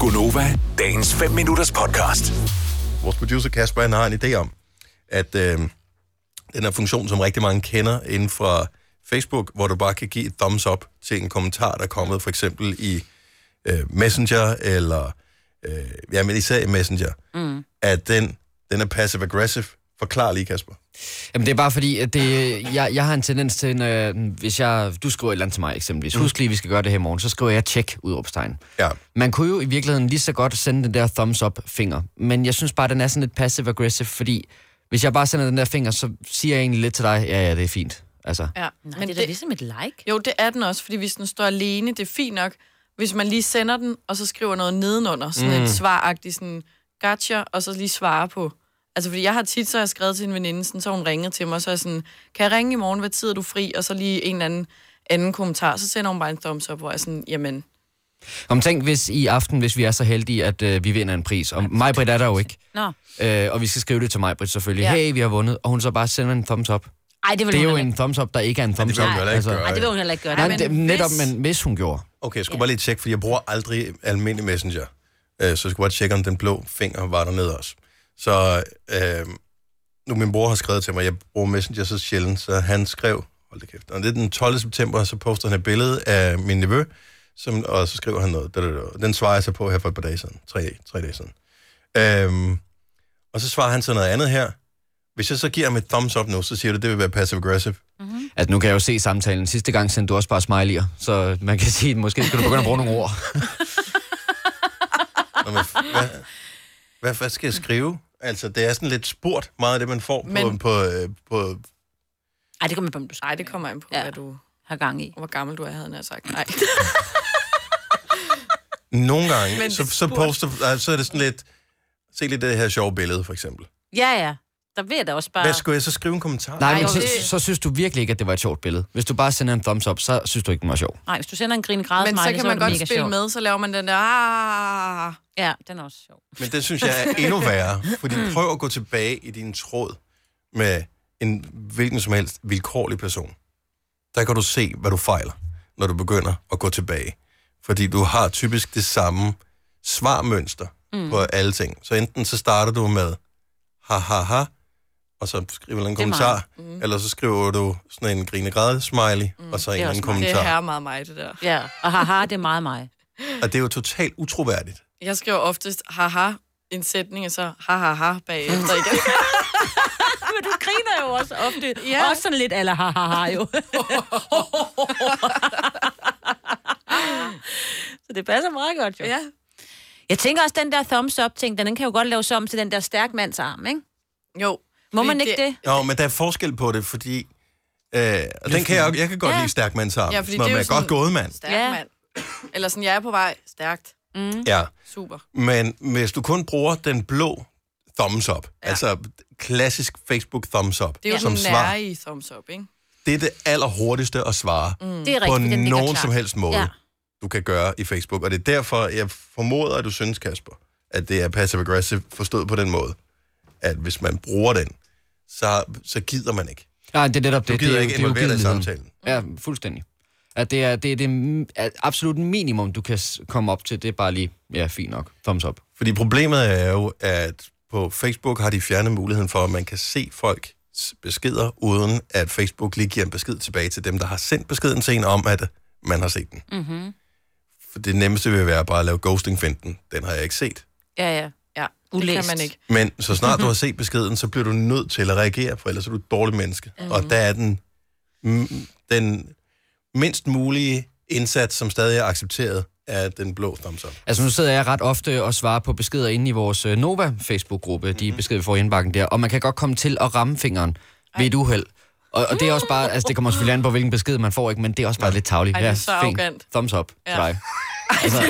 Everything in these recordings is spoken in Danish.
Gunova, dagens 5 minutters podcast. Vores producer Kasper han har en idé om, at øh, den her funktion, som rigtig mange kender inden fra Facebook, hvor du bare kan give et thumbs up til en kommentar, der er kommet for eksempel i øh, Messenger, eller øh, ja, men især i Messenger, mm. at den, den er passive-aggressive. Forklar lige, Kasper. Jamen, det er bare fordi, at det, jeg, jeg har en tendens til, når jeg, hvis jeg, du skriver et eller andet til mig eksempelvis, husk lige, vi skal gøre det her i morgen, så skriver jeg tjek udråbstegn. Ja. Man kunne jo i virkeligheden lige så godt sende den der thumbs up finger, men jeg synes bare, den er sådan lidt passive aggressive, fordi hvis jeg bare sender den der finger, så siger jeg egentlig lidt til dig, ja, ja, det er fint. Altså, Ja, Nej, men det er da det... ligesom et like. Jo, det er den også, fordi hvis den står alene, det er fint nok, hvis man lige sender den, og så skriver noget nedenunder, sådan mm. et svaragtigt sådan, gotcha, og så lige svare på. Altså, fordi jeg har tit, så har jeg skrevet til en veninde, sådan, så har hun ringet til mig, og så er jeg sådan, kan jeg ringe i morgen, hvad tid er du fri? Og så lige en eller anden, anden kommentar, så sender hun bare en thumbs up, hvor jeg sådan, jamen, om tænk, hvis i aften, hvis vi er så heldige, at øh, vi vinder en pris, og mig er der jo ikke, Nå. øh, og vi skal skrive det til mig selvfølgelig, ja. Ja. hey, vi har vundet, og hun så bare sender en thumbs up. Ej, det vil Det er hun jo heller en thumbs up, der ikke er en thumbs vil up. Altså. hun heller ikke gøre. ikke. Ej, det Nej, vil hun heller ikke gøre. men... men det, netop, men hvis hun gjorde. Okay, jeg skulle bare lige tjekke, fordi jeg bruger aldrig almindelig messenger. Øh, Så jeg skulle bare tjekke, om den blå finger var dernede også. Så øh, nu min bror har skrevet til mig, jeg bruger messenger så sjældent, så han skrev, hold da kæft, og det er den 12. september, så poster han et billede af min nevø, som, og så skriver han noget. Da, da, da. Den svarer jeg så på her for et par dage siden. Tre, tre dage siden. Øhm, og så svarer han så noget andet her. Hvis jeg så giver ham et thumbs up nu, så siger du, det vil være passive-aggressive. Altså, nu kan jeg jo se samtalen. Sidste gang sendte du også bare smiley'er, så man kan sige, at måske skal du begynde at bruge nogle ord. Nå, men f- hvad, hvad, hvad skal jeg skrive? Altså, det er sådan lidt spurgt, meget af det, man får på, Men- på, øh, på... Ej, det kommer på, om du skal nej, det kommer an på, Ja. ja. hvad du, have gang i. hvor gammel du er, havde jeg nær sagt. Nej. Nogle gange, Men det er så, så, spurgt. poster, altså, så er det sådan lidt... Se lige det her sjove billede, for eksempel. Ja, ja. Der vil jeg da også bare... Hvad skulle jeg så skrive en kommentar? Nej, men jo, så, det- så synes du virkelig ikke, at det var et sjovt billede. Hvis du bare sender en thumbs up, så synes du ikke, den var sjov. Nej, hvis du sender en grin græd Men så smiley, kan er man det godt mega spille sjovt. med, så laver man den der, ah, Ja, den er også sjov. Men det synes jeg er endnu værre, fordi prøv at gå tilbage i din tråd med en hvilken som helst vilkårlig person. Der kan du se, hvad du fejler, når du begynder at gå tilbage. Fordi du har typisk det samme svarmønster mm. på alle ting. Så enten så starter du med ha ha ha, og så skriver du en er mig. kommentar, mm. eller så skriver du sådan en grinegræde smiley, mm. og så en Det eller anden er også mig. det kommentar. er her meget mig, det der. Ja, og haha, det er meget mig. Og det er jo totalt utroværdigt. Jeg skriver oftest, haha, en sætning, og så haha, ha, bagefter igen. Men du griner jo også ofte. Ja. Også sådan lidt eller haha jo. Så det passer meget godt jo. ja. Jeg tænker også, den der thumbs up ting, den, den kan jo godt laves om til den der stærk mands arm, ikke? Jo. Må fordi man ikke det? Jo, men der er forskel på det, fordi... Øh, og den kan jeg, jeg kan godt ja. Ja. lide stærk mand sammen. Ja, Ja, fordi fordi det er jo med, sådan- Godt gået, mand. Stærk Ja. ja. mand. Eller sådan, jeg er på vej. Stærkt. Ja. Super. Men hvis du kun bruger den blå thumbs up, ja. altså klassisk Facebook thumbs up, Det er jo som sådan svar, nære i thumbs up, ikke? det er det allerhurtigste at svare mm. Det er på rigtigt, den ligger nogen klart. som helst måde, ja. Ja. du kan gøre i Facebook. Og det er derfor, jeg formoder, at du synes, Kasper, at det er passive-aggressive forstået på den måde, at hvis man bruger den, så, så gider man ikke. Nej, det er netop det. Du gider det er, jo- ikke det er jo involvere dig i ugideligheden. samtalen. Ja, fuldstændig. At det er det, er det m- at absolut minimum, du kan s- komme op til. Det er bare lige, ja, fint nok. Thumbs up. Fordi problemet er jo, at på Facebook har de fjernet muligheden for, at man kan se folks beskeder, uden at Facebook lige giver en besked tilbage til dem, der har sendt beskeden til en om, at man har set den. Mm-hmm. For det nemmeste vil være bare at lave ghosting-finden. Den har jeg ikke set. Ja, ja. Ja, det Ulæst. kan man ikke. Men så snart du har set beskeden, så bliver du nødt til at reagere, for ellers er du et dårligt menneske. Mm-hmm. Og der er den, mm, den mindst mulige indsats, som stadig er accepteret, er den blå thumbs up. Altså nu sidder jeg ret ofte og svarer på beskeder inde i vores øh, Nova Facebook-gruppe, de Mhm. beskeder, vi får i indbakken der, og man kan godt komme til at ramme fingeren ved et uheld. Og, og det er også bare, altså det kommer selvfølgelig an på, hvilken besked man får, ikke, men det er også bare lidt tavligt. Ej, det er Ja, så fint. arrogant. Thumbs up ja. til Ja. dig. Altså,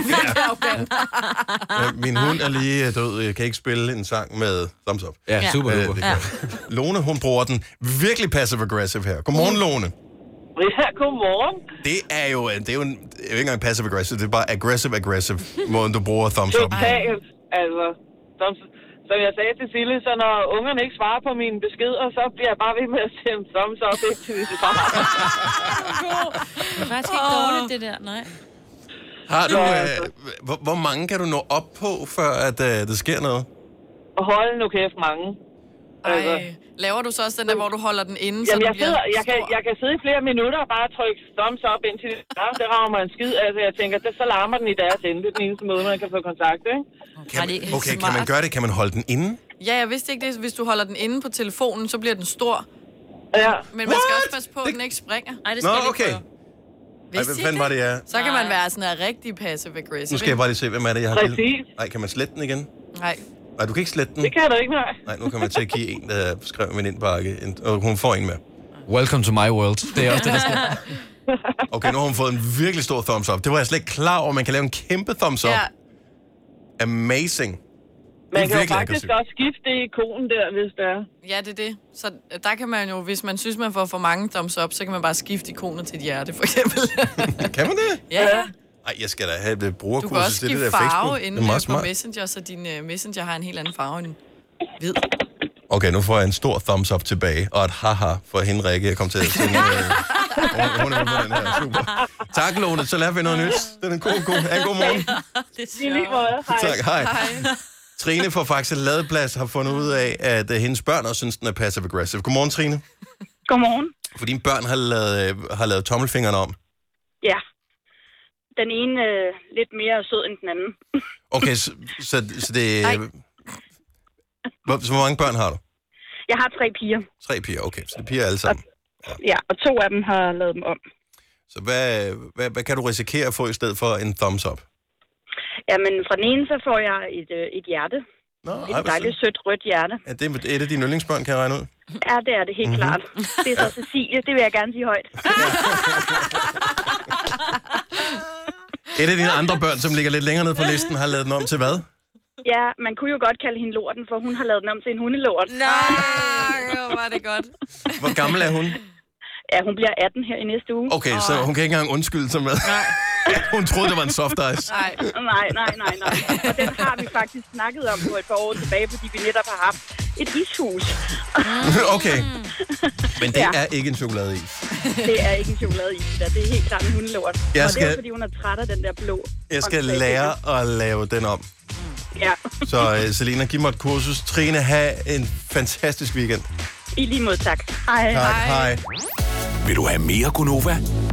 Ja, Min hund er lige øh, død. Jeg kan ikke spille en sang med thumbs up. Ja, Ja. super, Øh, super. det Ja. kan jeg. Lone, hun bruger den virkelig passive-aggressive her. Godmorgen, Lone. Ja, godmorgen. Det er jo, en- det er jo, en, det er jo ikke engang passive-aggressive, det er bare aggressive-aggressive, måden du bruger thumbs up. Totalt. Altså, som, som jeg sagde til Sille, så når ungerne ikke svarer på mine beskeder, så bliver jeg bare ved med at sende thumbs up indtil de svarer. Det er faktisk ikke dårligt, det der. Nej. Har du, Ja, øh, altså. hvor, hvor mange kan du nå op på, før at øh, der sker noget? Og hold nu kæft mange. Altså. Ej, laver du så også den der, hvor du holder den inde, så Jamen, den jeg, bliver sidder, jeg, kan, stor? jeg kan sidde i flere minutter og bare trykke thumbs up indtil det larmer. Det rager mig en skid. Altså, jeg tænker, det, så larmer den i deres ende. Det er den eneste måde, man kan få kontakt, ikke? Kan det man, er okay, kan smart. man gøre det? Kan man holde den inde? Ja, jeg vidste ikke det. Hvis du holder den inde på telefonen, så bliver den stor. Ja. Men man skal What? også passe på, at den ikke springer. Nej, det Nå, skal jeg lige okay. prøve. Ej, hvad Vidste I fanden var det, jeg... Så kan man Nej. være sådan en rigtig passive-aggressive. Nu skal jeg bare lige se, hvem er det, jeg har Præcis. Nej, kan man slette den igen? Nej. Nej, du kan ikke slette den. Det kan jeg da ikke, nej. Nej, nu kommer jeg til at give en, der skrev min indbakke, en, og hun får en med. Welcome to my world. Det er også det, der sker. Okay, nu har hun fået en virkelig stor thumbs up. Det var jeg slet ikke klar over. Man kan lave en kæmpe thumbs up. Ja, Amazing. Man er kan jo virkelig faktisk aggressivt. også skifte det ikon der, hvis det er. ja, det er det. Så øh, der kan man jo, hvis man synes, man får for mange thumbs up, så kan man bare skifte ikoner til et hjerte, for eksempel. Kan man det? ja, ja. Nej, jeg skal da have et Du kan også brugerkursus til det skifte der farve Facebook. inden Det er meget på smart. Messenger, så din øh, Messenger har en helt anden farve end hvid. Okay, nu får jeg en stor thumbs up tilbage, og et haha for hende, Rikke. Jeg kom til at sende... øh, hun- hun er med på den her. Super. Tak, Lone. Så lærer vi noget nyt. Den er en god, god, ha' en god morgen. I lige måde. Hej. Tak, hej. Hej. Trine fra Faxe Ladeplads har fundet ud af, at øh, hendes børn også synes, den er passive-aggressive. Godmorgen, Trine. Godmorgen. For dine børn har lavet, øh, har lavet tommelfingeren om. Ja. Den ene øh, lidt mere sød end den anden. Okay, så, så, så det... Nej. Hvor, så hvor mange børn har du? Jeg har tre piger, Tre piger, okay. Så det er piger alle sammen. ja, og to af dem har lavet dem om. Så hvad, hvad, hvad kan du risikere at få i stedet for en thumbs up? Jamen, fra den ene, så får jeg et, øh, et hjerte. Nå, Et ej, hvor dejligt sødt. sødt rødt hjerte. er det et af dine yndlingsbørn, kan jeg regne ud? Ja, det er det Mhm. helt klart. Det er så Cecilie, det vil jeg gerne sige højt. Et af dine andre børn, som ligger lidt længere nede på listen, har lavet den om til hvad? Ja, man kunne jo godt kalde hende lorten, for hun har lavet den om til en hundelort. Nej, hvor var det godt. Hvor gammel er hun? Ja, hun bliver 18 her i næste uge. Okay, så hun kan ikke engang undskylde sig med. Hun troede, det var en soft ice. Nej. Nej, nej, nej, nej. Og den har vi faktisk snakket om på et par år tilbage, fordi vi netop har haft et ishus. Okay. Men det Ja. er ikke en chokoladeis. Det er ikke en chokoladeis, det der. Det er helt klart en hundelort. Jeg Og det er skal- jo, fordi hun er træt af den der blå. Jeg skal håndklæde. lære at lave den om. Ja, Så uh, Selena, giv mig et kursus. Trine, have en fantastisk weekend. i lige mod tak. Hej. Tak, hej. Vil du have mere Gunova?